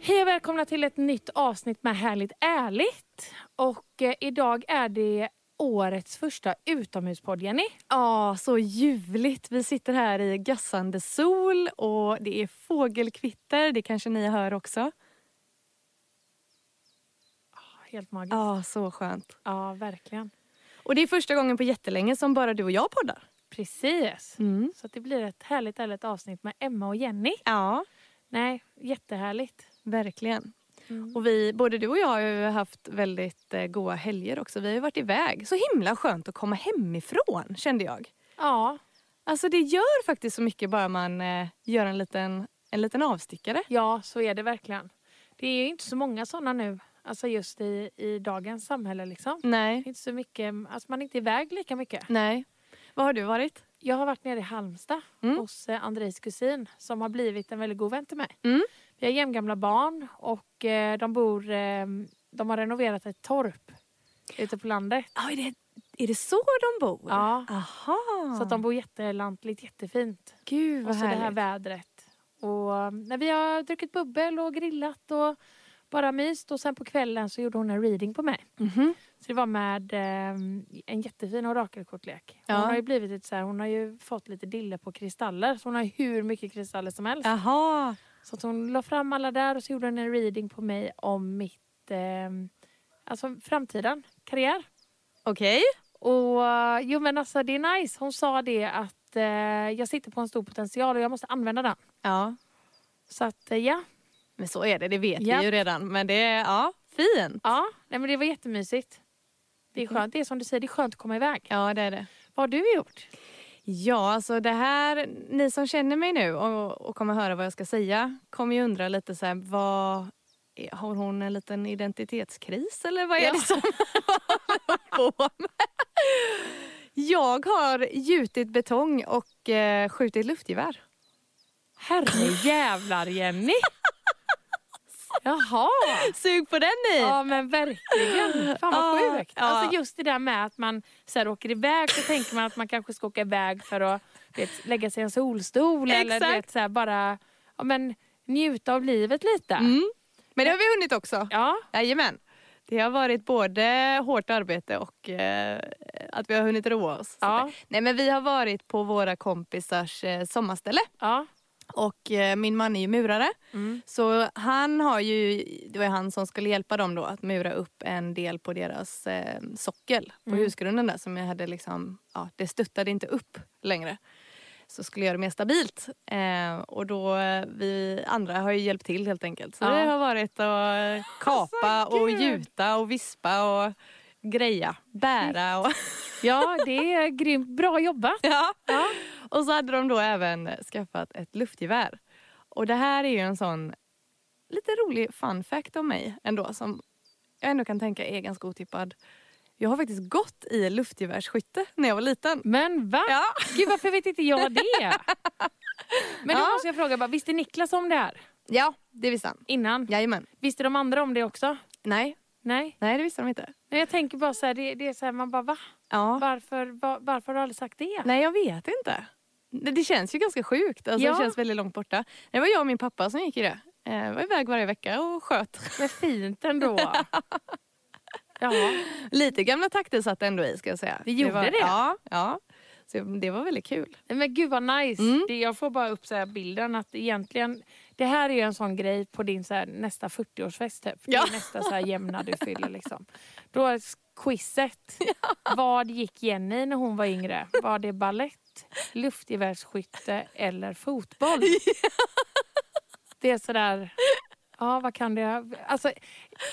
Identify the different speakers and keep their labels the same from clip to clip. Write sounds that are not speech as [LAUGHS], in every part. Speaker 1: Hej och välkomna till ett nytt avsnitt med Härligt ärligt. Och eh, idag är det årets första utomhuspodd Jenny.
Speaker 2: Ja, så ljuvligt. Vi sitter här i gassande sol och det är fågelkvitter. Det kanske ni hör också.
Speaker 1: Helt magiskt. Ja,
Speaker 2: Ja, så skönt.
Speaker 1: verkligen.
Speaker 2: Och det är första gången på jättelänge som bara du och jag poddar.
Speaker 1: Precis. Så att det blir ett härligt ärligt avsnitt med Emma och Jenny.
Speaker 2: Ja,
Speaker 1: Nej, jättehärligt.
Speaker 2: verkligen. Och vi, både du och jag har ju haft väldigt eh, goa helger också. Vi har ju varit iväg. Så himla skönt att komma hemifrån kände jag.
Speaker 1: Ja,
Speaker 2: Alltså det gör faktiskt så mycket bara man eh, gör en liten, en liten avstickare.
Speaker 1: ja så är det verkligen. Det är ju inte så många sådana nu. Alltså just i, i dagens samhälle liksom.
Speaker 2: Nej.
Speaker 1: Det är inte så mycket, alltså man är inte iväg lika mycket.
Speaker 2: Nej. Vad har du varit?
Speaker 1: Jag har varit nere i Halmstad
Speaker 2: Mm.
Speaker 1: hos eh, Andrejs kusin som har blivit en väldigt god vän till mig.
Speaker 2: Mm.
Speaker 1: Vi har jämngamla barn och eh, de bor, eh, de har renoverat ett torp ute på landet.
Speaker 2: är, det, är det så de bor?
Speaker 1: Ja,
Speaker 2: Aha.
Speaker 1: så att de bor jättelantligt, jättefint.
Speaker 2: Gud
Speaker 1: Och
Speaker 2: vad
Speaker 1: så det här
Speaker 2: härligt.
Speaker 1: vädret. Och när vi har druckit bubbel och grillat och bara myst och sen på kvällen så gjorde hon en reading på mig.
Speaker 2: Mhm.
Speaker 1: Så det var med eh, en jättefin orakelkortlek. Och
Speaker 2: Ja.
Speaker 1: Hon har ju blivit lite så här, hon har ju fått lite dille på kristaller. Så hon har ju hur mycket kristaller som helst.
Speaker 2: Jaha.
Speaker 1: Så att hon la fram alla där och så gjorde hon en reading på mig om mitt, eh, alltså framtiden, karriär.
Speaker 2: Okej.
Speaker 1: Och eh, jo men alltså det är nice. Hon sa det att eh, jag sitter på en stor potential och jag måste använda den.
Speaker 2: Ja.
Speaker 1: Så att eh, ja,
Speaker 2: Men så är det, det vet
Speaker 1: Ja.
Speaker 2: vi ju redan. Men det är, ja, fint.
Speaker 1: ja nej, men det var jättemysigt. Det är skönt, det är som du säger, det är skönt att komma iväg.
Speaker 2: Ja, det är det.
Speaker 1: Vad har du gjort?
Speaker 2: Ja, alltså det här, ni som känner mig nu och, och kommer höra vad jag ska säga kommer ju undra lite så här, vad, har hon en liten identitetskris eller vad är
Speaker 1: Ja.
Speaker 2: det som [LAUGHS] håller på med? Jag har gjutit betong och eh, skjutit luftgevär.
Speaker 1: Herrejävlar Jenny! Jaha!
Speaker 2: Sug på den ni!
Speaker 1: Ja men verkligen. Fan vad
Speaker 2: Ja,
Speaker 1: sjukt.
Speaker 2: ja.
Speaker 1: Alltså just det där med att man så här, åker iväg så tänker man att man kanske ska åka iväg för att du vet, lägga sig i en solstol eller du vet,
Speaker 2: Exakt.
Speaker 1: så här, bara ja, men, njuta av livet lite.
Speaker 2: Mm. Men det har vi hunnit också.
Speaker 1: Ja,
Speaker 2: Jajamän. Det har varit både hårt arbete och eh, att vi har hunnit roa oss. Så
Speaker 1: Ja.
Speaker 2: att- Nej, men vi har varit på våra kompisars eh, sommarställe.
Speaker 1: ja.
Speaker 2: Och eh, min man är ju murare.
Speaker 1: Mm.
Speaker 2: Så han har ju, det var ju han som skulle hjälpa dem då att mura upp en del på deras eh, sockel på husgrunden där som jag hade liksom, ja det stöttade inte upp längre. Så skulle göra det mer stabilt. Eh, och då eh, vi andra har ju hjälpt till helt enkelt. Så
Speaker 1: Ja.
Speaker 2: det har varit att kapa
Speaker 1: Alltså,
Speaker 2: och
Speaker 1: gud.
Speaker 2: gjuta och vispa och greja, bära och
Speaker 1: ja det är grymt. Bra jobbat.
Speaker 2: [LAUGHS] ja.
Speaker 1: Ja.
Speaker 2: Och så hade de då även skaffat ett luftgevär. Och det här är ju en sån lite rolig fun fact om mig ändå som jag ändå kan tänka är ganska otippad. Jag har faktiskt gått i luftgevärsskytte när jag var liten.
Speaker 1: Men va?
Speaker 2: Ja.
Speaker 1: Gud varför vet inte jag det? Men då
Speaker 2: Ja.
Speaker 1: måste jag fråga, bara, visste Niklas om det här
Speaker 2: Ja, det visste han.
Speaker 1: innan?
Speaker 2: Jajamän.
Speaker 1: Visste de andra om det också?
Speaker 2: Nej,
Speaker 1: Nej.
Speaker 2: nej det visste de inte.
Speaker 1: Men jag tänker bara så här, det, det är så här, man bara va?
Speaker 2: Ja.
Speaker 1: Varför, va, varför har du aldrig sagt det?
Speaker 2: Nej, jag vet inte. Det, det känns ju ganska sjukt. Alltså,
Speaker 1: Ja.
Speaker 2: Det känns väldigt långt borta. Det var jag och min pappa som gick i det. Eh, var iväg varje vecka och sköt.
Speaker 1: Men fint [LAUGHS] ändå. ja.
Speaker 2: Lite gamla takter satt ändå i ska jag säga.
Speaker 1: Det gjorde
Speaker 2: var,
Speaker 1: det?
Speaker 2: Ja, ja. Så det var väldigt kul.
Speaker 1: Nej, Men gud vad nice.
Speaker 2: Mm.
Speaker 1: Det, jag får bara upp så här bilden att egentligen, det här är ju en sån grej på din så här, nästa 40-årsfest typ. Det
Speaker 2: Ja.
Speaker 1: är nästa så här jämna du fyller liksom. Då är [LAUGHS] quizet. Vad gick Jenny när hon var yngre? Var det ballett, luftgevärsskytte eller fotboll? Det är sådär, ja Ja, vad kan det... Alltså,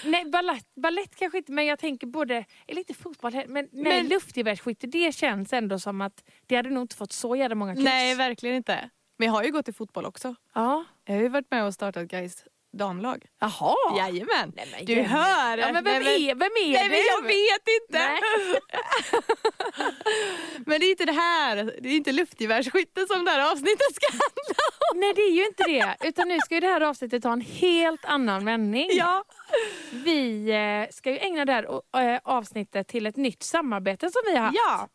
Speaker 1: nej, ballett, ballett kanske inte, men jag tänker både... Eller inte fotboll heller, men, nej,
Speaker 2: Men-
Speaker 1: luftgevärsskytte, det känns ändå som att det hade nog inte fått så jävla många kryss.
Speaker 2: Nej, verkligen inte. Men jag har ju gått i fotboll också.
Speaker 1: Ja.
Speaker 2: Jag har ju varit med och startat Gais damlag.
Speaker 1: Jaha!
Speaker 2: Jajamän.
Speaker 1: Nej, men,
Speaker 2: Du
Speaker 1: Jenny.
Speaker 2: hör!
Speaker 1: Ja, men vem,
Speaker 2: Nej,
Speaker 1: Är, vem är
Speaker 2: Nej,
Speaker 1: du?
Speaker 2: men jag vet inte!
Speaker 1: Nej.
Speaker 2: Men det är inte det här, det är inte luftgevärsskytte som det här avsnittet ska handla om.
Speaker 1: Nej, det är ju inte det. Utan nu ska ju det här avsnittet ta en helt annan vändning.
Speaker 2: Ja.
Speaker 1: Vi eh, ska ju ägna det här o- eh, avsnittet till ett nytt samarbete som vi har haft.
Speaker 2: Ja.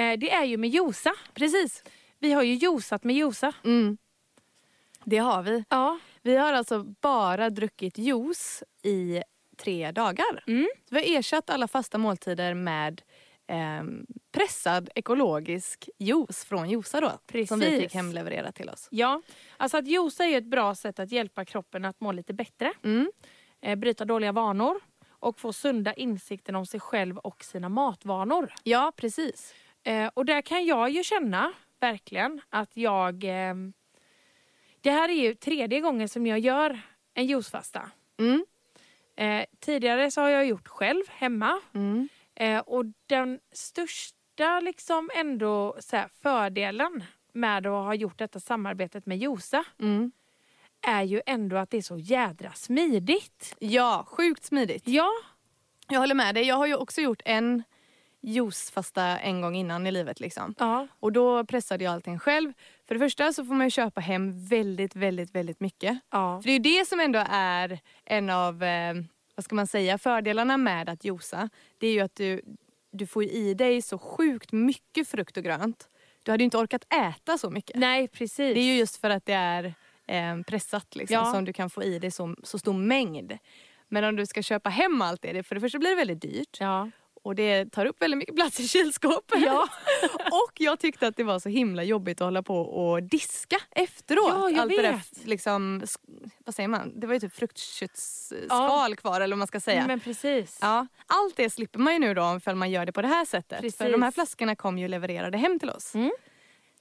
Speaker 1: Eh, det är ju med Josa. Precis. Vi har ju josat med Josa.
Speaker 2: Mm. Det har vi.
Speaker 1: Ja.
Speaker 2: Vi har alltså bara druckit juice i tre dagar.
Speaker 1: Mm.
Speaker 2: Vi har ersatt alla fasta måltider med ehm, pressad ekologisk juice från Josa då. Som vi
Speaker 1: Precis.
Speaker 2: fick hemleverera till oss.
Speaker 1: Ja, alltså att josa är ju ett bra sätt att hjälpa kroppen att må lite bättre,
Speaker 2: Mm.
Speaker 1: eh, bryta dåliga vanor och få sunda insikten om sig själv och sina matvanor.
Speaker 2: Ja, precis.
Speaker 1: Eh, och där kan jag ju känna, verkligen, att jag... Eh, det här är ju tredje gången som jag gör en juicefasta.
Speaker 2: Mm.
Speaker 1: Eh, tidigare så har jag gjort själv hemma
Speaker 2: Mm.
Speaker 1: Eh, och den största liksom ändå så här, fördelen med att ha gjort detta samarbetet med Josa
Speaker 2: Mm.
Speaker 1: är ju ändå att det är så jädra smidigt.
Speaker 2: Ja, sjukt smidigt.
Speaker 1: Ja,
Speaker 2: Jag håller med dig. Jag har ju också gjort en juicefasta en gång innan i livet. liksom.
Speaker 1: ja,
Speaker 2: Och då pressade jag allting själv. För det första så får man ju köpa hem väldigt, väldigt, väldigt mycket.
Speaker 1: ja.
Speaker 2: För det är ju det som ändå är en av, eh, vad ska man säga, fördelarna med att juica. Det är ju att du, du får ju i dig så sjukt mycket frukt och grönt. Du hade ju inte orkat äta så mycket.
Speaker 1: Nej, precis.
Speaker 2: Det är ju just för att det är eh, pressat liksom,
Speaker 1: Ja.
Speaker 2: som du kan få i dig så, så stor mängd. Men om du ska köpa hem allt det, för det första blir det väldigt dyrt.
Speaker 1: Ja.
Speaker 2: Och det tar upp väldigt mycket plats i kylskåpet.
Speaker 1: Ja.
Speaker 2: [LAUGHS] och jag tyckte att det var så himla jobbigt att hålla på och diska efteråt.
Speaker 1: Ja, jag
Speaker 2: Allt det där,
Speaker 1: vet.
Speaker 2: liksom, sk- vad säger man? Det var ju typ fruktköttsskal kvar eller vad man ska säga.
Speaker 1: Men precis.
Speaker 2: Ja, allt det slipper man ju nu då om man gör det på det här sättet. För
Speaker 1: Precis.
Speaker 2: de här flaskorna kom ju levererade hem till oss.
Speaker 1: Mm.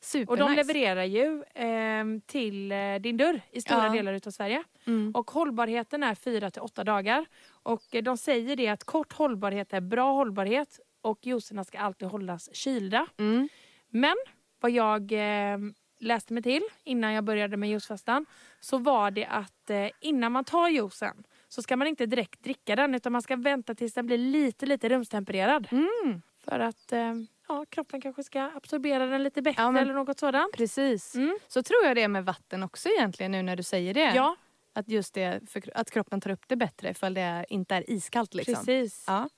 Speaker 2: Supernice.
Speaker 1: Och de levererar ju ehm, till eh, din dörr i stora
Speaker 2: Ja.
Speaker 1: delar utav Sverige.
Speaker 2: Mm.
Speaker 1: Och hållbarheten är 4 till 8 dagar. Och eh, de säger det att kort hållbarhet är bra hållbarhet och juicerna ska alltid hållas kylda.
Speaker 2: Mm.
Speaker 1: Men vad jag eh, läste mig till innan jag började med juicefastan så var det att eh, innan man tar juicen så ska man inte direkt dricka den utan man ska vänta tills den blir lite, lite rumstempererad.
Speaker 2: Mm.
Speaker 1: För att eh, ja, kroppen kanske ska absorbera den lite bättre
Speaker 2: Ja, men-
Speaker 1: eller något sådant.
Speaker 2: Precis.
Speaker 1: Mm.
Speaker 2: Så tror jag det är med vatten också egentligen nu när du säger det.
Speaker 1: Ja,
Speaker 2: Att just det, för, att kroppen tar upp det bättre ifall det är, inte är iskallt liksom.
Speaker 1: precis.
Speaker 2: Ja.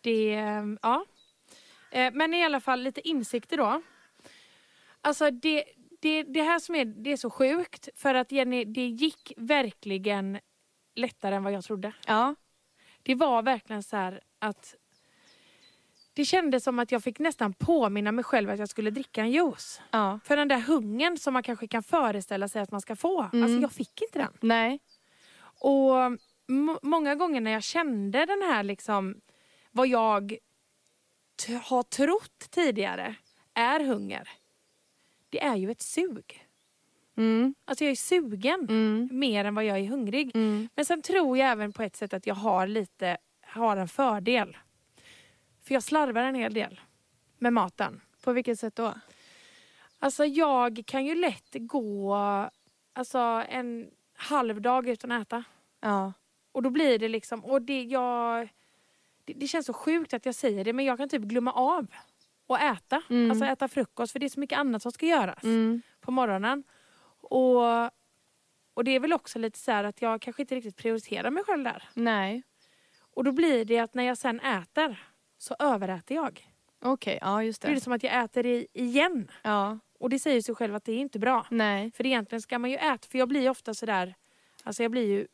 Speaker 1: Det, eh, ja. Eh, Men i alla fall lite insikter då. Alltså det, det, det här som är, det är så sjukt för att Jenny, det gick verkligen lättare än vad jag trodde.
Speaker 2: Ja.
Speaker 1: Det var verkligen så här att det kändes som att jag fick nästan påminna mig själv att jag skulle dricka en juice.
Speaker 2: ja.
Speaker 1: För den där hungern som man kanske kan föreställa sig att man ska få.
Speaker 2: Mm.
Speaker 1: Alltså jag fick inte den.
Speaker 2: Nej.
Speaker 1: Och m- många gånger när jag kände den här liksom vad jag t- har trott tidigare är hunger. Det är ju ett sug.
Speaker 2: Mm.
Speaker 1: Alltså jag är sugen
Speaker 2: Mm.
Speaker 1: mer än vad jag är hungrig.
Speaker 2: Mm.
Speaker 1: Men sen tror jag även på ett sätt att jag har lite, har en fördel. För jag slarvar en hel del med maten.
Speaker 2: På vilket sätt då?
Speaker 1: Alltså jag kan ju lätt gå alltså en halv dag utan att äta.
Speaker 2: Ja.
Speaker 1: Och då blir det liksom, och det jag... Det, det känns så sjukt att jag säger det men jag kan typ glömma av att äta.
Speaker 2: Mm.
Speaker 1: Alltså äta frukost för det är så mycket annat som ska göras
Speaker 2: Mm.
Speaker 1: på morgonen. Och, och det är väl också lite så här att jag kanske inte riktigt prioriterar mig själv där.
Speaker 2: Nej.
Speaker 1: Och då blir det att när jag sen äter så överäter jag.
Speaker 2: Okej, ja just
Speaker 1: Då är det
Speaker 2: det.
Speaker 1: som att jag äter i, igen.
Speaker 2: Ja.
Speaker 1: Och det säger sig själv att det är inte bra.
Speaker 2: Nej.
Speaker 1: För egentligen ska man ju äta, för jag blir ju ofta sådär, alltså jag blir ju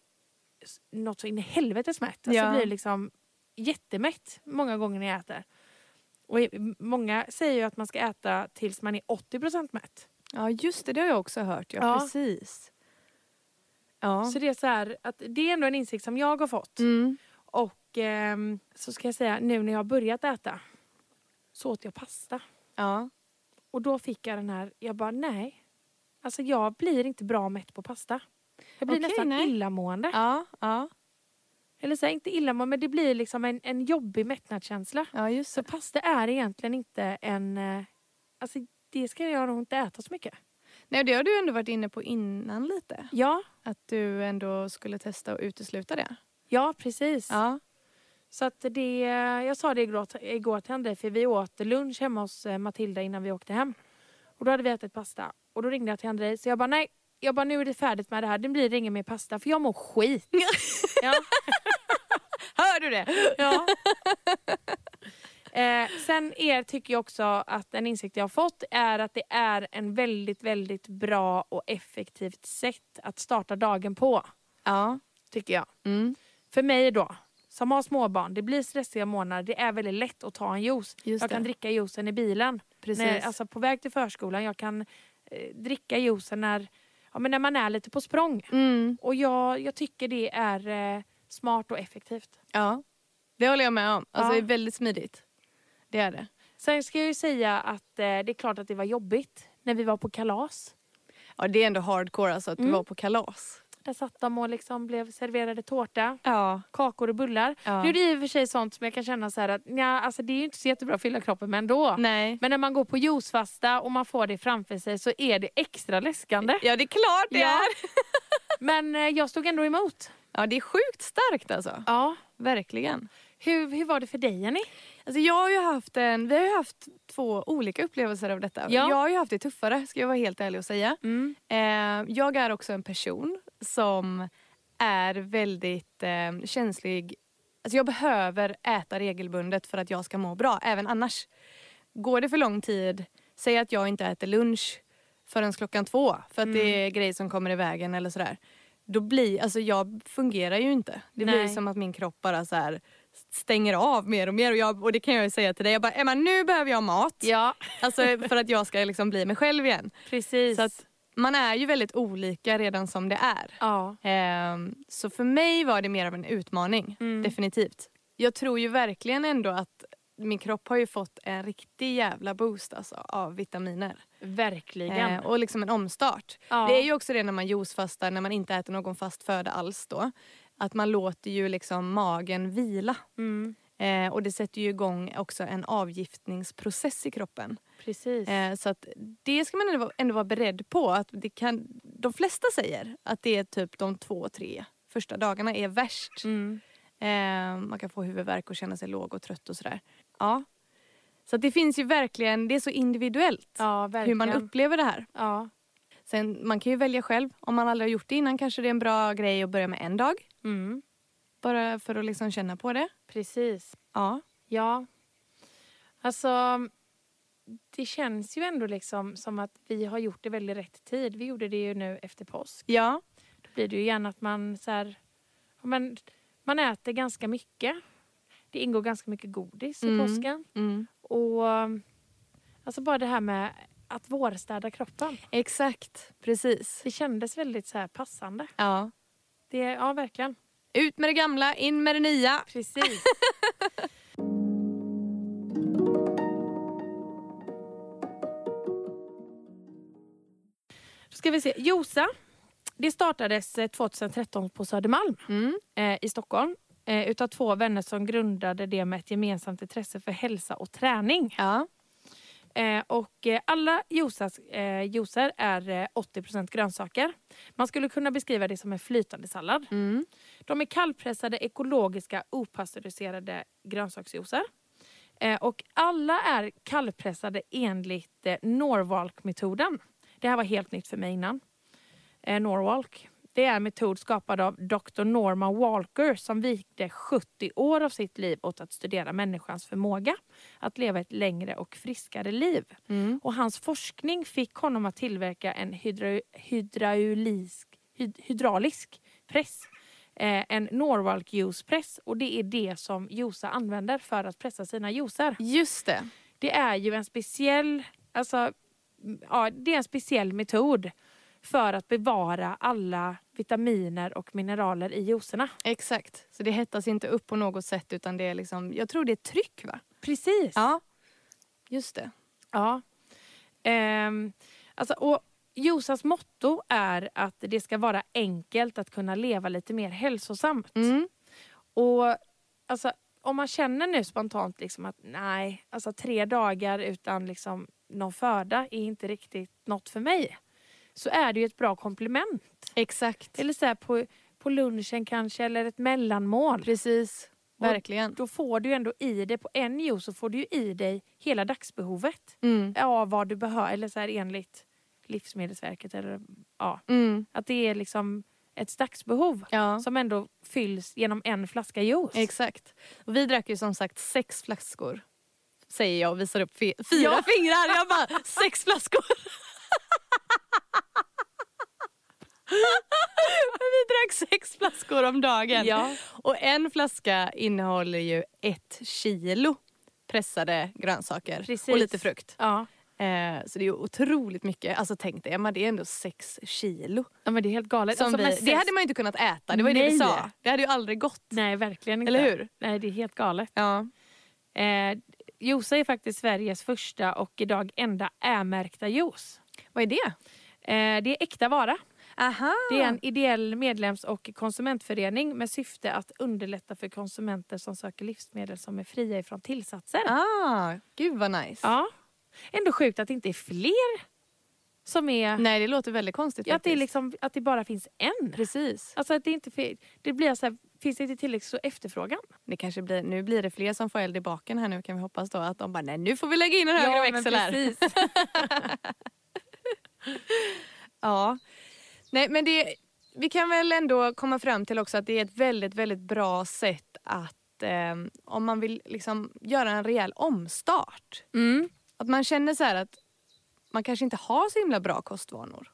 Speaker 1: s- något så in i helvetes mätt. Alltså
Speaker 2: Ja.
Speaker 1: Jag blir liksom jättemätt många gånger när jag äter. Och i- många säger ju att man ska äta tills man är 80% mätt.
Speaker 2: Ja just det, det har jag också hört. Ja,
Speaker 1: Ja.
Speaker 2: precis. Ja.
Speaker 1: Så det är så här, att det är ändå en insikt som jag har fått.
Speaker 2: Mm.
Speaker 1: Och ehm, så ska jag säga, nu när jag har börjat äta så åt jag pasta.
Speaker 2: Ja.
Speaker 1: Och då fick jag den här, jag bara nej. Alltså jag blir inte bra mätt på pasta. Jag blir
Speaker 2: Okej,
Speaker 1: nästan
Speaker 2: nej.
Speaker 1: illamående.
Speaker 2: Ja, ja.
Speaker 1: Eller så här, inte illamående, men det blir liksom en, en jobbig mättnadskänsla.
Speaker 2: ja just
Speaker 1: Så
Speaker 2: det.
Speaker 1: pass, det är egentligen inte en... eh, Alltså det ska jag nog inte äta så mycket.
Speaker 2: Nej, det har du ändå varit inne på innan lite.
Speaker 1: Ja,
Speaker 2: Att du ändå skulle testa att utesluta det.
Speaker 1: ja precis.
Speaker 2: Ja.
Speaker 1: [LAUGHS] Så att det, eh, jag sa det igår, igår till André, för vi åt lunch hemma hos eh, Matilda innan vi åkte hem. Och då hade vi ätit pasta. Och då ringde jag till André, så jag bara nej, jag bara nu är det färdigt med det här, det blir ingen mer pasta för jag mår skit. ja,
Speaker 2: Hör du det?
Speaker 1: ja. [LAUGHS] Eh, sen er tycker jag också att en insikt jag har fått är att det är en väldigt, väldigt bra och effektivt sätt att starta dagen på.
Speaker 2: Ja.
Speaker 1: Tycker jag.
Speaker 2: Mm.
Speaker 1: För mig då, som har småbarn, det blir stressiga månader. Det är väldigt lätt att ta en juice.
Speaker 2: Just
Speaker 1: jag kan
Speaker 2: det.
Speaker 1: dricka juicen i bilen.
Speaker 2: Precis.
Speaker 1: När, alltså på väg till förskolan. Jag kan eh, dricka juicen när, ja, men när man är lite på språng.
Speaker 2: Mm.
Speaker 1: Och jag, jag tycker det är eh, smart och effektivt.
Speaker 2: Ja. Det håller jag med om. Alltså,
Speaker 1: Ja.
Speaker 2: Det är väldigt smidigt. Det är det.
Speaker 1: Sen ska jag ju säga att eh, det är klart att det var jobbigt när vi var på kalas.
Speaker 2: Ja, det är ändå hardcore alltså att
Speaker 1: Mm.
Speaker 2: du var på kalas.
Speaker 1: Där satt de och liksom blev serverade tårta,
Speaker 2: Ja.
Speaker 1: kakor och bullar.
Speaker 2: Ja.
Speaker 1: Nu är det i och för sig sånt som jag kan känna så här att nja, alltså det är ju inte så jättebra att fylla kroppen med ändå.
Speaker 2: Nej.
Speaker 1: Men när man går på juicefasta och man får det framför sig så är det extra läskande.
Speaker 2: Ja, det är klart det
Speaker 1: Ja.
Speaker 2: är.
Speaker 1: Men eh, jag stod ändå emot.
Speaker 2: Ja, det är sjukt starkt alltså.
Speaker 1: Ja.
Speaker 2: Verkligen.
Speaker 1: Hur, hur var det för dig, Jenny?
Speaker 2: Alltså jag har ju haft en, vi har ju haft två olika upplevelser av detta.
Speaker 1: Ja.
Speaker 2: Jag har ju haft det tuffare, ska jag vara helt ärlig och säga.
Speaker 1: [LAUGHS]
Speaker 2: Eh, jag är också en person som är väldigt eh, känslig. Alltså jag behöver äta regelbundet för att jag ska må bra, även annars. Går det för lång tid, säg att jag inte äter lunch förrän klockan två för att det
Speaker 1: Mm.
Speaker 2: är grejer som kommer i vägen eller sådär. Då blir, alltså jag fungerar ju inte. Det
Speaker 1: Nej.
Speaker 2: blir som att min kropp bara så här stänger av mer och mer. Och, jag, och det kan jag ju säga till dig, jag bara Emma nu behöver jag mat.
Speaker 1: Ja,
Speaker 2: Alltså för att jag ska liksom bli mig själv igen.
Speaker 1: precis.
Speaker 2: Så att man är ju väldigt olika redan som det är.
Speaker 1: ja.
Speaker 2: Ehm, så för mig var det mer av en utmaning,
Speaker 1: Mm.
Speaker 2: definitivt. Jag tror ju verkligen ändå att min kropp har ju fått en riktig jävla boost alltså, av vitaminer.
Speaker 1: Verkligen.
Speaker 2: Ehm, och liksom en omstart.
Speaker 1: ja.
Speaker 2: Det är ju också det när man juicefastar, när man inte äter någon fast föda alls då. Att man låter ju liksom magen vila.
Speaker 1: mm,
Speaker 2: Ehm, och det sätter ju igång också en avgiftningsprocess i kroppen.
Speaker 1: precis.
Speaker 2: Eh, så att det ska man ändå, vara- ändå vara beredd på. Att det kan, de flesta säger att det är typ de två, tre första dagarna är värst.
Speaker 1: Mm.
Speaker 2: Eh, man kan få huvudvärk och känna sig låg och trött och sådär. Ja. Så att det finns ju verkligen, det är så individuellt
Speaker 1: Ja, verkligen.
Speaker 2: hur man upplever det här.
Speaker 1: ja.
Speaker 2: Sen, man kan ju välja själv. Om man aldrig har gjort det innan kanske det är en bra grej att börja med en dag.
Speaker 1: Mm.
Speaker 2: Bara för att liksom känna på det.
Speaker 1: Precis.
Speaker 2: Ja.
Speaker 1: Ja. Alltså, det känns ju ändå liksom som att vi har gjort det väldigt rätt tid. Vi gjorde det ju nu efter påsk.
Speaker 2: Ja.
Speaker 1: blir det ju gärna att man så här, ja, men, man äter ganska mycket. Det ingår ganska mycket godis i
Speaker 2: Mm.
Speaker 1: påsken.
Speaker 2: Mm.
Speaker 1: Och um, alltså bara det här med att vårstäda kroppen.
Speaker 2: Exakt. Precis.
Speaker 1: Det kändes väldigt så här passande.
Speaker 2: Ja.
Speaker 1: Det, ja, verkligen.
Speaker 2: Ut med det gamla, in med det nya.
Speaker 1: Precis. Då ska vi se. Josa. Det startades eh, 2013 på Södermalm.
Speaker 2: Mm.
Speaker 1: eh, i Stockholm eh, utav två vänner som grundade det med ett gemensamt intresse för hälsa och träning.
Speaker 2: Ja.
Speaker 1: Eh, och eh, alla juicas, eh, juicer är eh, 80 grönsaker. Man skulle kunna beskriva det som en flytande sallad.
Speaker 2: Mm.
Speaker 1: De är kallpressade, ekologiska, opastöriserade grönsaksjuicer. Eh, och alla är kallpressade enligt eh, Norwalk-metoden. Det här var helt nytt för mig innan. Eh, Norwalk. Det är en metod skapad av Dr. Norma Walker som vikte 70 år av sitt liv åt att studera människans förmåga att leva ett längre och friskare liv.
Speaker 2: Mm.
Speaker 1: Och hans forskning fick honom att tillverka en hydra, hydraulisk, hyd, hydraulisk press. Eh, en Norwalk juicepress och det är det som Josa använder för att pressa sina juicer.
Speaker 2: Just det.
Speaker 1: Det är ju en speciell, alltså, m- ja, det är en speciell metod för att bevara alla vitaminer och mineraler i juicerna.
Speaker 2: Exakt. Så det hettas inte upp på något sätt utan det är liksom, jag tror det är tryck va?
Speaker 1: Precis.
Speaker 2: Ja. Just det.
Speaker 1: Ja. Ehm, alltså, och Josas motto är att det ska vara enkelt att kunna leva lite mer hälsosamt.
Speaker 2: Mm.
Speaker 1: Och alltså, om man känner nu spontant liksom att nej, alltså tre dagar utan liksom någon föda är inte riktigt något för mig. Så är det ju ett bra komplement.
Speaker 2: Exakt.
Speaker 1: Eller så här på, på lunchen kanske, eller ett mellanmål.
Speaker 2: Precis.
Speaker 1: Och-
Speaker 2: Verkligen.
Speaker 1: Då får du ju ändå i dig, på en juice så får du ju i dig hela dagsbehovet.
Speaker 2: Mm.
Speaker 1: Ja, vad du behöver, eller så här enligt Livsmedelsverket. Eller, ja.
Speaker 2: Mm.
Speaker 1: Att det är liksom ett dagsbehov
Speaker 2: Ja.
Speaker 1: som ändå fylls genom en flaska juice.
Speaker 2: Exakt. Och vi drack ju som sagt sex flaskor. Säger jag och visar upp fi- fyra
Speaker 1: Ja.
Speaker 2: fingrar. Jag bara, sex flaskor. [LAUGHS] vi drack sex flaskor om dagen.
Speaker 1: Ja.
Speaker 2: Och en flaska innehåller ju ett kilo pressade grönsaker
Speaker 1: Precis.
Speaker 2: och lite frukt.
Speaker 1: Ja.
Speaker 2: Eh, så det är ju otroligt mycket. Alltså tänk dig Emma, det är ändå sex kilo.
Speaker 1: ja, men det är helt galet.
Speaker 2: Som
Speaker 1: Alltså, men
Speaker 2: vi, det
Speaker 1: sex-
Speaker 2: hade man ju inte kunnat äta, det var ju det
Speaker 1: Nej.
Speaker 2: vi sa. Det hade ju aldrig gått.
Speaker 1: Nej, verkligen inte.
Speaker 2: Eller hur?
Speaker 1: Nej, det är helt galet.
Speaker 2: Ja.
Speaker 1: Eh, Josa är faktiskt Sveriges första och idag enda ä-märkta juice.
Speaker 2: Vad är det?
Speaker 1: Eh, det är äkta vara.
Speaker 2: Aha.
Speaker 1: Det är en ideell medlems och konsumentförening med syfte att underlätta för konsumenter som söker livsmedel som är fria ifrån tillsatser.
Speaker 2: Ah, gud vad nice.
Speaker 1: Ja. Ändå sjukt att det inte är fler som är...
Speaker 2: Nej, det låter väldigt konstigt
Speaker 1: Att det, är
Speaker 2: faktiskt.
Speaker 1: liksom, att det bara finns en.
Speaker 2: Precis.
Speaker 1: Alltså att det inte fi- det blir så här, finns det inte tillräckligt så efterfrågan?
Speaker 2: Det kanske blir, nu blir det fler som får eld i baken här nu kan vi hoppas då att de bara nej nu får vi lägga in en högre
Speaker 1: Ja, men
Speaker 2: växel här. [LAUGHS]
Speaker 1: precis.
Speaker 2: Ja. Nej men det, vi kan väl ändå komma fram till också att det är ett väldigt väldigt bra sätt att eh, om man vill liksom göra en rejäl omstart.
Speaker 1: Mm.
Speaker 2: Att man känner så här att man kanske inte har så himla bra kostvanor.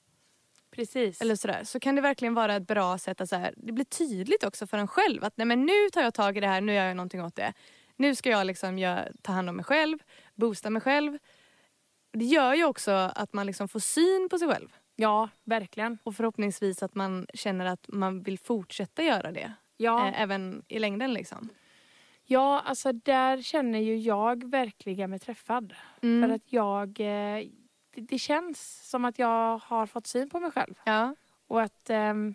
Speaker 1: Precis.
Speaker 2: eller sådär, så kan det verkligen vara ett bra sätt att såhär, det blir tydligt också för en själv att nej, men nu tar jag tag i det här, nu gör jag någonting åt det. Nu ska jag liksom gör, ta hand om mig själv, boosta mig själv. Det gör ju också att man liksom får syn på sig själv
Speaker 1: ja, verkligen.
Speaker 2: och förhoppningsvis att man känner att man vill fortsätta göra det.
Speaker 1: Ja.
Speaker 2: Eh, även i längden liksom.
Speaker 1: ja, alltså där känner ju jag verkligen mig träffad.
Speaker 2: Mm.
Speaker 1: För att jag... eh, Det, det känns som att jag har fått syn på mig själv.
Speaker 2: Ja.
Speaker 1: Och att ehm,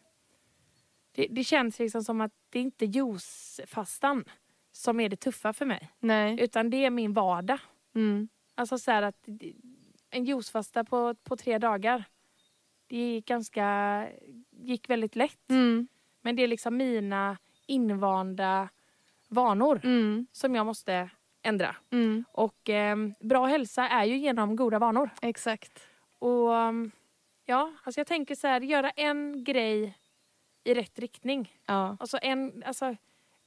Speaker 1: det, det känns liksom som att det är inte juicefastan som är det tuffa för mig.
Speaker 2: Nej.
Speaker 1: Utan det är min vardag.
Speaker 2: Mm.
Speaker 1: Alltså så här att det- en juicefasta på, på tre dagar. Det gick ganska, gick väldigt lätt.
Speaker 2: Mm.
Speaker 1: Men det är liksom mina invanda vanor
Speaker 2: Mm.
Speaker 1: som jag måste ändra.
Speaker 2: Mm.
Speaker 1: Och ehm, bra hälsa är ju genom goda vanor.
Speaker 2: Exakt.
Speaker 1: Och ehm, ja, alltså jag tänker så här, göra en grej i rätt riktning.
Speaker 2: Ja.
Speaker 1: Alltså en, alltså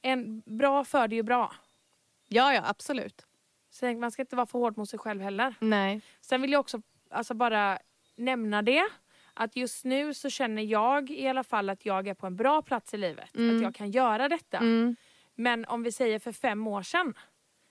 Speaker 1: en bra för det är ju bra.
Speaker 2: ja, ja absolut.
Speaker 1: Så man ska inte vara för hård mot sig själv heller.
Speaker 2: Nej.
Speaker 1: Sen vill jag också alltså bara nämna det. Att just nu så känner jag i alla fall att jag är på en bra plats i livet. Att jag kan göra detta.
Speaker 2: Mm.
Speaker 1: Men om vi säger för fem år sedan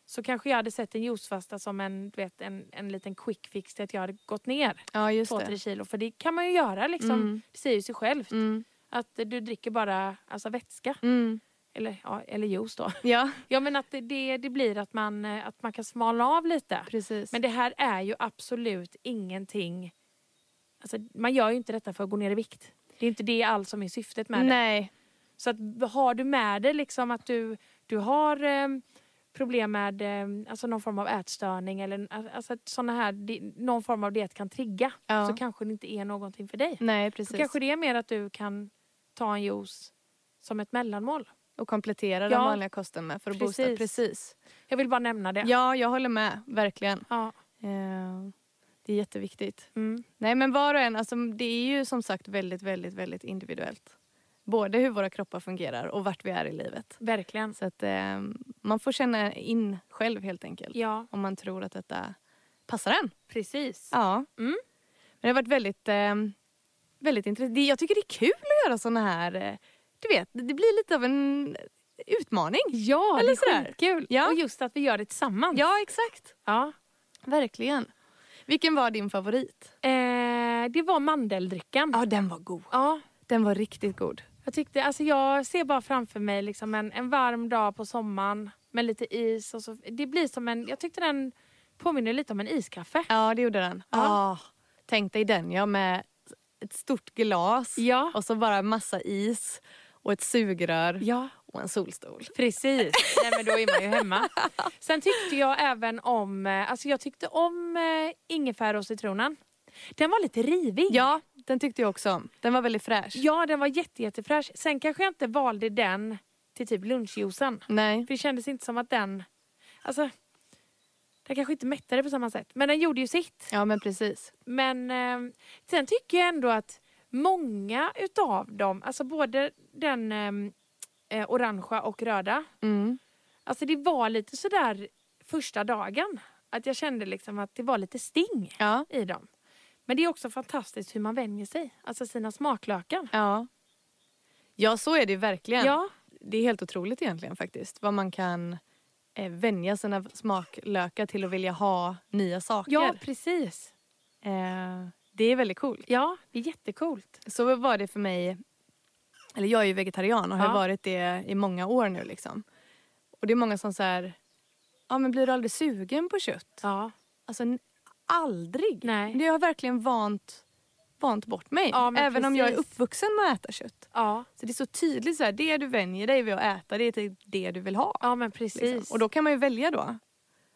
Speaker 1: så kanske jag hade sett en juicefasta som en, du vet, en, en liten quick fix till att jag hade gått ner
Speaker 2: Ja, just
Speaker 1: två,
Speaker 2: det.
Speaker 1: tre kilo. För det kan man ju göra liksom.
Speaker 2: Mm.
Speaker 1: Det säger ju sig självt.
Speaker 2: Mm.
Speaker 1: Att eh, du dricker bara alltså, vätska.
Speaker 2: Mm.
Speaker 1: Eller, ja, eller juice då. [LAUGHS]
Speaker 2: Ja.
Speaker 1: Ja men att det, det, det blir att man, eh, att man kan smalna av lite.
Speaker 2: Precis.
Speaker 1: Men det här är ju absolut ingenting... Alltså, man gör ju inte detta för att gå ner i vikt. Det är inte det alls som är syftet med det.
Speaker 2: Nej.
Speaker 1: Så att, har du med dig liksom att du, du har eh, problem med eh, alltså någon form av ätstörning eller alltså, att såna här, di- någon form av diet kan trigga
Speaker 2: Ja.
Speaker 1: så kanske det inte är någonting för dig.
Speaker 2: Nej,
Speaker 1: Då
Speaker 2: precis.
Speaker 1: kanske det är mer att du kan ta en juice som ett mellanmål.
Speaker 2: Och komplettera
Speaker 1: Ja.
Speaker 2: den vanliga kosten med för att boosta.
Speaker 1: Precis.
Speaker 2: Precis.
Speaker 1: Jag vill bara nämna det.
Speaker 2: Ja, jag håller med. Verkligen.
Speaker 1: Ja.
Speaker 2: Eh, Det är jätteviktigt.
Speaker 1: Mm.
Speaker 2: Nej, men var och en, alltså, det är ju som sagt väldigt, väldigt, väldigt individuellt. Både hur våra kroppar fungerar och vart vi är i livet.
Speaker 1: Verkligen.
Speaker 2: Så att eh, man får känna in själv helt enkelt.
Speaker 1: Ja,
Speaker 2: Om man tror att detta passar en.
Speaker 1: precis.
Speaker 2: Ja.
Speaker 1: Mm.
Speaker 2: Men det har varit väldigt, eh, väldigt intressant. Det- Jag tycker det är kul att göra såna här... eh, Du vet, det blir lite av en utmaning.
Speaker 1: Ja,
Speaker 2: Eller
Speaker 1: det
Speaker 2: sådär.
Speaker 1: är skitkul.
Speaker 2: Ja.
Speaker 1: Och just att vi gör det tillsammans.
Speaker 2: Ja, exakt.
Speaker 1: Ja.
Speaker 2: Verkligen. Vilken var din favorit?
Speaker 1: Eh, det var mandeldrickan.
Speaker 2: Ja, den var god.
Speaker 1: Ja,
Speaker 2: Den var riktigt god.
Speaker 1: jag, tyckte, alltså jag ser bara framför mig liksom en, en varm dag på sommaren med lite is. Och så, det blir som en, jag tyckte den påminner lite om en iskaffe.
Speaker 2: Ja, det gjorde den.
Speaker 1: Ja.
Speaker 2: Ah, tänk dig den, ja, med ett stort glas
Speaker 1: Ja.
Speaker 2: och så bara massa is och ett sugrör
Speaker 1: Ja.
Speaker 2: och en solstol.
Speaker 1: Precis, [LAUGHS] Nej, men då är man ju hemma. [LAUGHS] Sen tyckte jag även om, eh, alltså jag tyckte om eh, ingefära och citronen. Den var lite rivig.
Speaker 2: Ja, den tyckte jag också om. Den var väldigt fräsch.
Speaker 1: Ja, den var jätte, jättefräsch. Sen kanske jag inte valde den till typ lunchjuicen.
Speaker 2: Nej.
Speaker 1: För det kändes inte som att den, alltså den kanske inte mättade på samma sätt. Men den gjorde ju sitt.
Speaker 2: Ja men precis.
Speaker 1: Men eh, sen tycker jag ändå att många utav dem, alltså både den eh, eh, orangea och röda,
Speaker 2: Mm.
Speaker 1: Alltså det var lite sådär första dagen. Att jag kände liksom att det var lite sting
Speaker 2: Ja.
Speaker 1: i dem. Men det är också fantastiskt hur man vänjer sig. Alltså sina smaklökar.
Speaker 2: ja. Ja så är det ju verkligen.
Speaker 1: Ja,
Speaker 2: Det är helt otroligt egentligen faktiskt. Vad man kan eh, vänja sina smaklökar till att vilja ha nya saker.
Speaker 1: ja precis.
Speaker 2: Eh, det är väldigt coolt.
Speaker 1: Ja, det är jättecoolt.
Speaker 2: Så var det för mig. Eller jag är ju vegetarian och har
Speaker 1: Ja.
Speaker 2: varit det i många år nu liksom. Och det är många som säger, ja men blir du aldrig sugen på kött?
Speaker 1: Ja.
Speaker 2: Alltså n- aldrig.
Speaker 1: Nej.
Speaker 2: Det har verkligen vant, vant bort mig.
Speaker 1: Ja, men
Speaker 2: Även om jag är
Speaker 1: precis.
Speaker 2: uppvuxen med att äta kött.
Speaker 1: Ja,
Speaker 2: Så det är så tydligt så här, det du vänjer dig vid att äta det är typ det du vill ha.
Speaker 1: ja men precis.
Speaker 2: Liksom. Och då kan man ju välja då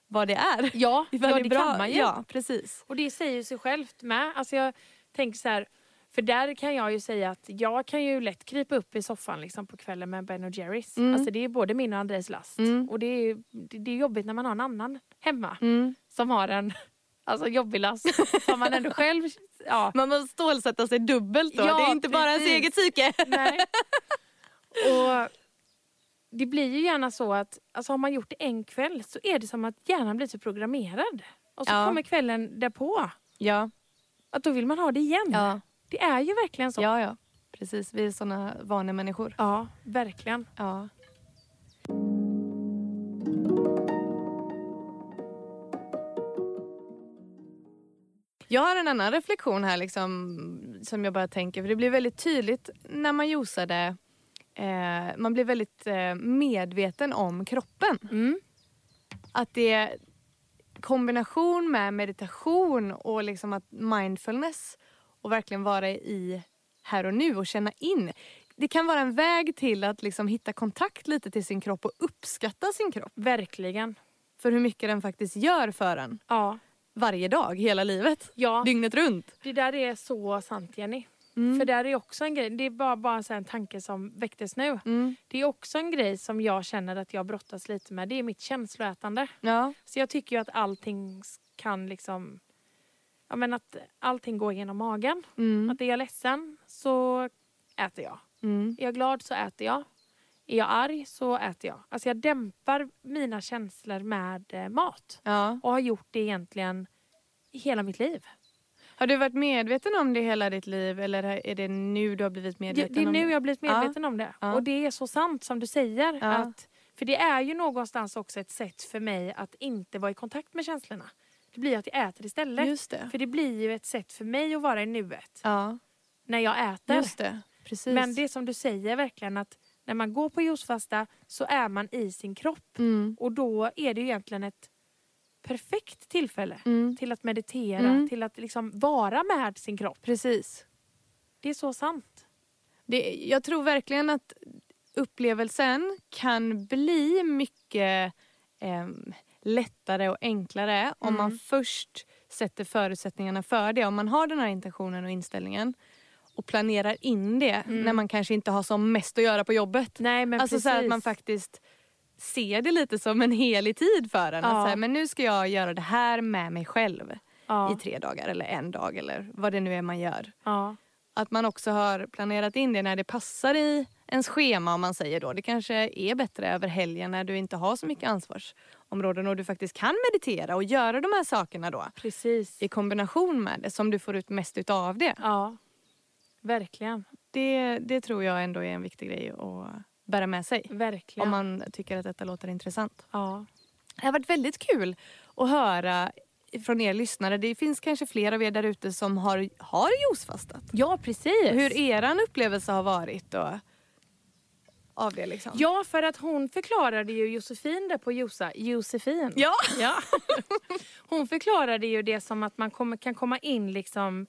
Speaker 2: vad det är.
Speaker 1: [LAUGHS] ja,
Speaker 2: Ifall
Speaker 1: ja,
Speaker 2: är
Speaker 1: det kan man ju.
Speaker 2: Ja, precis.
Speaker 1: Och det säger ju sig självt med. Alltså jag tänker så här, för där kan jag ju säga att jag kan ju lätt krypa upp i soffan liksom på kvällen med Ben och Jerrys.
Speaker 2: Mm.
Speaker 1: Alltså det är ju både min och Andres last.
Speaker 2: Mm.
Speaker 1: Och det är, ju- det, det är jobbigt när man har en annan hemma.
Speaker 2: Mm.
Speaker 1: som har en alltså, jobbig last som man ändå själv... Ja,
Speaker 2: Man måste stålsätta sig dubbelt då.
Speaker 1: Ja,
Speaker 2: det är inte bara ens
Speaker 1: precis.
Speaker 2: eget psyke.
Speaker 1: [LAUGHS] nej. Och det blir ju gärna så att alltså, har man gjort det en kväll så är det som att hjärnan blir så programmerad. Och så
Speaker 2: Ja.
Speaker 1: kommer kvällen därpå.
Speaker 2: Ja,
Speaker 1: Att då vill man ha det igen.
Speaker 2: ja,
Speaker 1: Det är ju verkligen så.
Speaker 2: ja, ja. Precis, vi är såna vanemänniskor.
Speaker 1: Ja, verkligen.
Speaker 2: Ja. Jag har en annan reflektion här liksom, som jag bara tänker, för det blir väldigt tydligt när man juicade. Eh, man blir väldigt eh, medveten om kroppen.
Speaker 1: Mm.
Speaker 2: Att det är kombination med meditation och liksom att mindfulness och verkligen vara i här och nu och känna in. Det kan vara en väg till att liksom hitta kontakt lite till sin kropp och uppskatta sin kropp
Speaker 1: Verkligen.
Speaker 2: för hur mycket den faktiskt gör för en
Speaker 1: Ja.
Speaker 2: varje dag, hela livet,
Speaker 1: ja.
Speaker 2: dygnet runt.
Speaker 1: Det där är så sant, Jenny.
Speaker 2: Mm.
Speaker 1: För där är också en grej. Det är bara, bara så här en tanke som väcktes nu.
Speaker 2: Mm.
Speaker 1: Det är också en grej som jag känner att jag brottas lite med. Det är mitt känsloätande.
Speaker 2: Ja,
Speaker 1: Så jag tycker ju att allting s- kan liksom... Ja, men att allting går genom magen.
Speaker 2: mm.
Speaker 1: Att är jag ledsen så äter jag.
Speaker 2: Mm.
Speaker 1: Är jag glad så äter jag. Är jag arg så äter jag. Alltså jag dämpar mina känslor med eh, mat.
Speaker 2: ja.
Speaker 1: Och har gjort det egentligen i hela mitt liv.
Speaker 2: Har du varit medveten om det hela ditt liv eller är det nu du har blivit
Speaker 1: Det,
Speaker 2: medveten
Speaker 1: det är
Speaker 2: om
Speaker 1: nu jag
Speaker 2: det?
Speaker 1: har blivit medveten om det.
Speaker 2: Ja.
Speaker 1: Och det är så sant som du säger.
Speaker 2: Ja.
Speaker 1: Att, för det är ju någonstans också ett sätt för mig att inte vara i kontakt med känslorna. Det blir att jag äter istället.
Speaker 2: Just det.
Speaker 1: För det blir ju ett sätt för mig att vara i nuet
Speaker 2: Ja,
Speaker 1: när jag äter.
Speaker 2: just det. Precis.
Speaker 1: Men det är som du säger verkligen att när man går på juicefasta så är man i sin kropp.
Speaker 2: Mm.
Speaker 1: Och då är det ju egentligen ett perfekt tillfälle
Speaker 2: Mm.
Speaker 1: till att meditera,
Speaker 2: Mm.
Speaker 1: till att liksom vara med sin kropp.
Speaker 2: Precis.
Speaker 1: Det är så sant.
Speaker 2: Det, jag tror verkligen att upplevelsen kan bli mycket ehm, lättare och enklare om
Speaker 1: Mm.
Speaker 2: man först sätter förutsättningarna för det. Om man har den här intentionen och inställningen och planerar in det när man kanske inte har som mest att göra på jobbet.
Speaker 1: Mm. Nej men
Speaker 2: alltså så här att man faktiskt ser det lite som en helig tid för en.
Speaker 1: Ja.
Speaker 2: Att så här, men nu ska jag göra det här med mig själv
Speaker 1: ja,
Speaker 2: i tre dagar eller en dag eller vad det nu är man gör.
Speaker 1: ja,
Speaker 2: Att man också har planerat in det när det passar i ens schema om man säger då. Det kanske är bättre över helgen när du inte har så mycket ansvarsområden och du faktiskt kan meditera och göra de här sakerna då
Speaker 1: precis.
Speaker 2: i kombination med det som du får ut mest utav det.
Speaker 1: Ja, verkligen.
Speaker 2: det. Det tror jag ändå är en viktig grej att bära med sig.
Speaker 1: Verkligen.
Speaker 2: Om man tycker att detta låter intressant.
Speaker 1: ja.
Speaker 2: Det har varit väldigt kul att höra från er lyssnare. Det finns kanske fler av er där ute som har, har juicefastat.
Speaker 1: ja, precis.
Speaker 2: hur er upplevelse har varit då, av det. Liksom.
Speaker 1: Ja, för att hon förklarade ju Josefin där på Josa. Josefin.
Speaker 2: Ja.
Speaker 1: [LAUGHS] Hon förklarade ju det som att man kommer, kan komma in liksom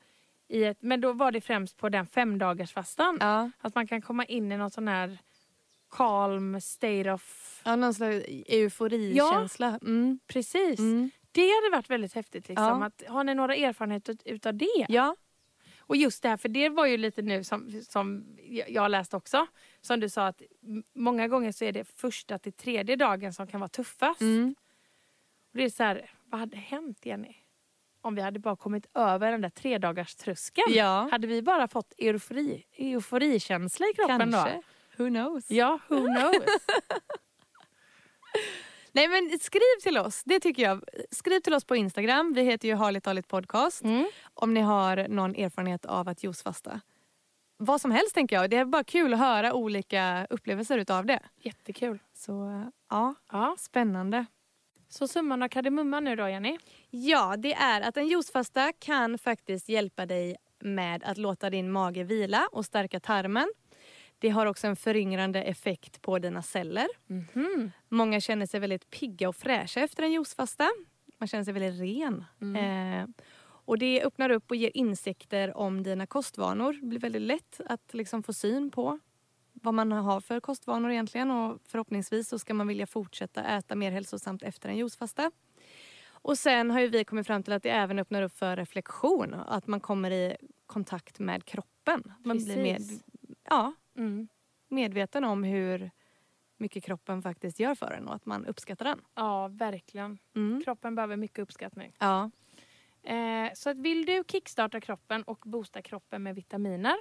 Speaker 1: I ett, men då var det främst på den femdagarsfastan.
Speaker 2: Ja.
Speaker 1: Att man kan komma in i någon sån här calm state of...
Speaker 2: ja, någon slags euforikänsla. Mm.
Speaker 1: Precis.
Speaker 2: Mm.
Speaker 1: Det hade varit väldigt häftigt. Liksom,
Speaker 2: Ja.
Speaker 1: att, har ni några erfarenheter ut- utav det?
Speaker 2: Ja.
Speaker 1: Och just det här, för det var ju lite nu som, som jag jag har läst också. Som du sa att m- många gånger så är det första till tredje dagen som kan vara tuffast.
Speaker 2: Mm.
Speaker 1: Och det är så här, vad hade hänt Jenny? Om vi hade bara kommit över den där tredagarströskeln.
Speaker 2: ja.
Speaker 1: Hade vi bara fått eufori, euforikänsla i kroppen
Speaker 2: Kanske.
Speaker 1: då?
Speaker 2: Who knows?
Speaker 1: Ja,
Speaker 2: [LAUGHS]
Speaker 1: who knows?
Speaker 2: Nej men skriv till oss, det tycker jag. Skriv till oss på Instagram, vi heter ju Harligt Harligt Podcast.
Speaker 1: Mm.
Speaker 2: Om ni har någon erfarenhet av att juicefasta. Vad som helst tänker jag, det är bara kul att höra olika upplevelser utav det.
Speaker 1: Jättekul.
Speaker 2: Så ja,
Speaker 1: Ja.
Speaker 2: spännande.
Speaker 1: Så summan av kardemumman nu då Jenny.
Speaker 2: Ja, det är att en juicefasta kan faktiskt hjälpa dig med att låta din mage vila och stärka tarmen. Det har också en föryngrande effekt på dina celler. Mm. Många känner sig väldigt pigga och fräscha efter en juicefasta. Man känner sig väldigt ren. Eh, och Det öppnar upp och ger insikter om dina kostvanor. Det blir väldigt lätt att liksom få syn på vad man har för kostvanor egentligen. Och Förhoppningsvis så ska man vilja fortsätta äta mer hälsosamt efter en juicefasta. Och sen har ju vi kommit fram till att det även öppnar upp för reflektion. Att man kommer i kontakt med kroppen. Man blir med,
Speaker 1: Precis.
Speaker 2: ja,
Speaker 1: Mm.
Speaker 2: medveten om hur mycket kroppen faktiskt gör för en och att man uppskattar den.
Speaker 1: Ja, verkligen.
Speaker 2: Mm.
Speaker 1: Kroppen behöver mycket uppskattning.
Speaker 2: Ja.
Speaker 1: Eh, så att vill du kickstarta kroppen och boosta kroppen med vitaminer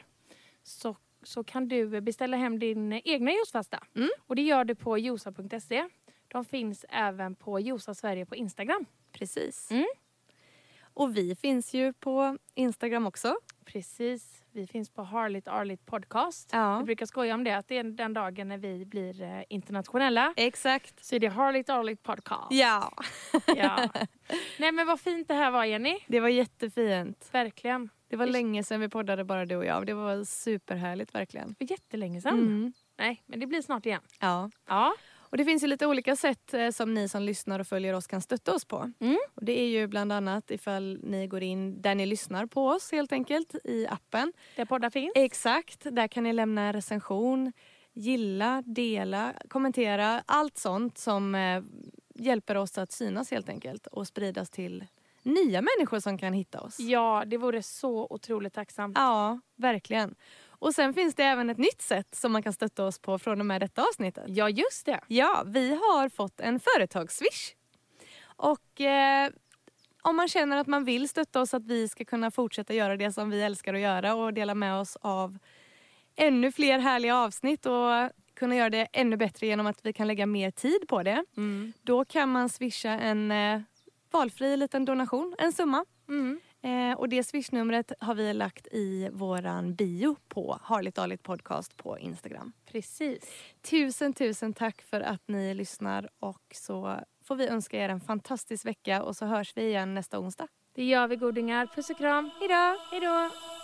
Speaker 1: så, så kan du beställa hem din egna juicefasta.
Speaker 2: Mm.
Speaker 1: Och det gör du på josa.se. De finns även på Josa Sverige på Instagram.
Speaker 2: Precis.
Speaker 1: Mm.
Speaker 2: Och vi finns ju på Instagram också.
Speaker 1: Precis. Vi finns på Harligt Arligt Podcast.
Speaker 2: Ja.
Speaker 1: Vi brukar skoja om det, att det är den dagen när vi blir eh, internationella.
Speaker 2: Exakt.
Speaker 1: Så är det Harligt Arligt Podcast.
Speaker 2: Ja.
Speaker 1: Ja. Nej men vad fint det här var Jenny.
Speaker 2: Det var jättefint.
Speaker 1: Verkligen.
Speaker 2: Det var
Speaker 1: Det-
Speaker 2: länge sedan vi poddade bara du och jag. Det var superhärligt verkligen.
Speaker 1: Det var jättelänge sedan.
Speaker 2: Mm.
Speaker 1: Nej, men det blir snart igen.
Speaker 2: Ja.
Speaker 1: Ja.
Speaker 2: Och det finns ju lite olika sätt eh, som ni som lyssnar och följer oss kan stötta oss på.
Speaker 1: Mm.
Speaker 2: Och det är ju bland annat ifall ni går in där ni lyssnar på oss helt enkelt i appen.
Speaker 1: Där poddar finns.
Speaker 2: Exakt, där kan ni lämna en recension, gilla, dela, kommentera. Allt sånt som eh, hjälper oss att synas helt enkelt och spridas till nya människor som kan hitta oss.
Speaker 1: Ja, det vore så otroligt tacksamt.
Speaker 2: Ja, verkligen. Och sen finns det även ett nytt sätt som man kan stötta oss på från och med detta avsnittet.
Speaker 1: Ja, just det.
Speaker 2: Ja, vi har fått en företagsswish. Och eh, om man känner att man vill stötta oss att vi ska kunna fortsätta göra det som vi älskar att göra och dela med oss av ännu fler härliga avsnitt och kunna göra det ännu bättre genom att vi kan lägga mer tid på det. Då kan man swisha en eh, valfri liten donation, en summa.
Speaker 1: Mm.
Speaker 2: Eh, och det swishnumret har vi lagt i våran bio på Harligt Darligt Podcast på Instagram.
Speaker 1: Precis.
Speaker 2: Tusen, tusen tack för att ni lyssnar. Och så får vi önska er en fantastisk vecka och så hörs vi igen nästa onsdag.
Speaker 1: Det gör vi godingar. Puss och kram.
Speaker 2: Hejdå!
Speaker 1: Hej då.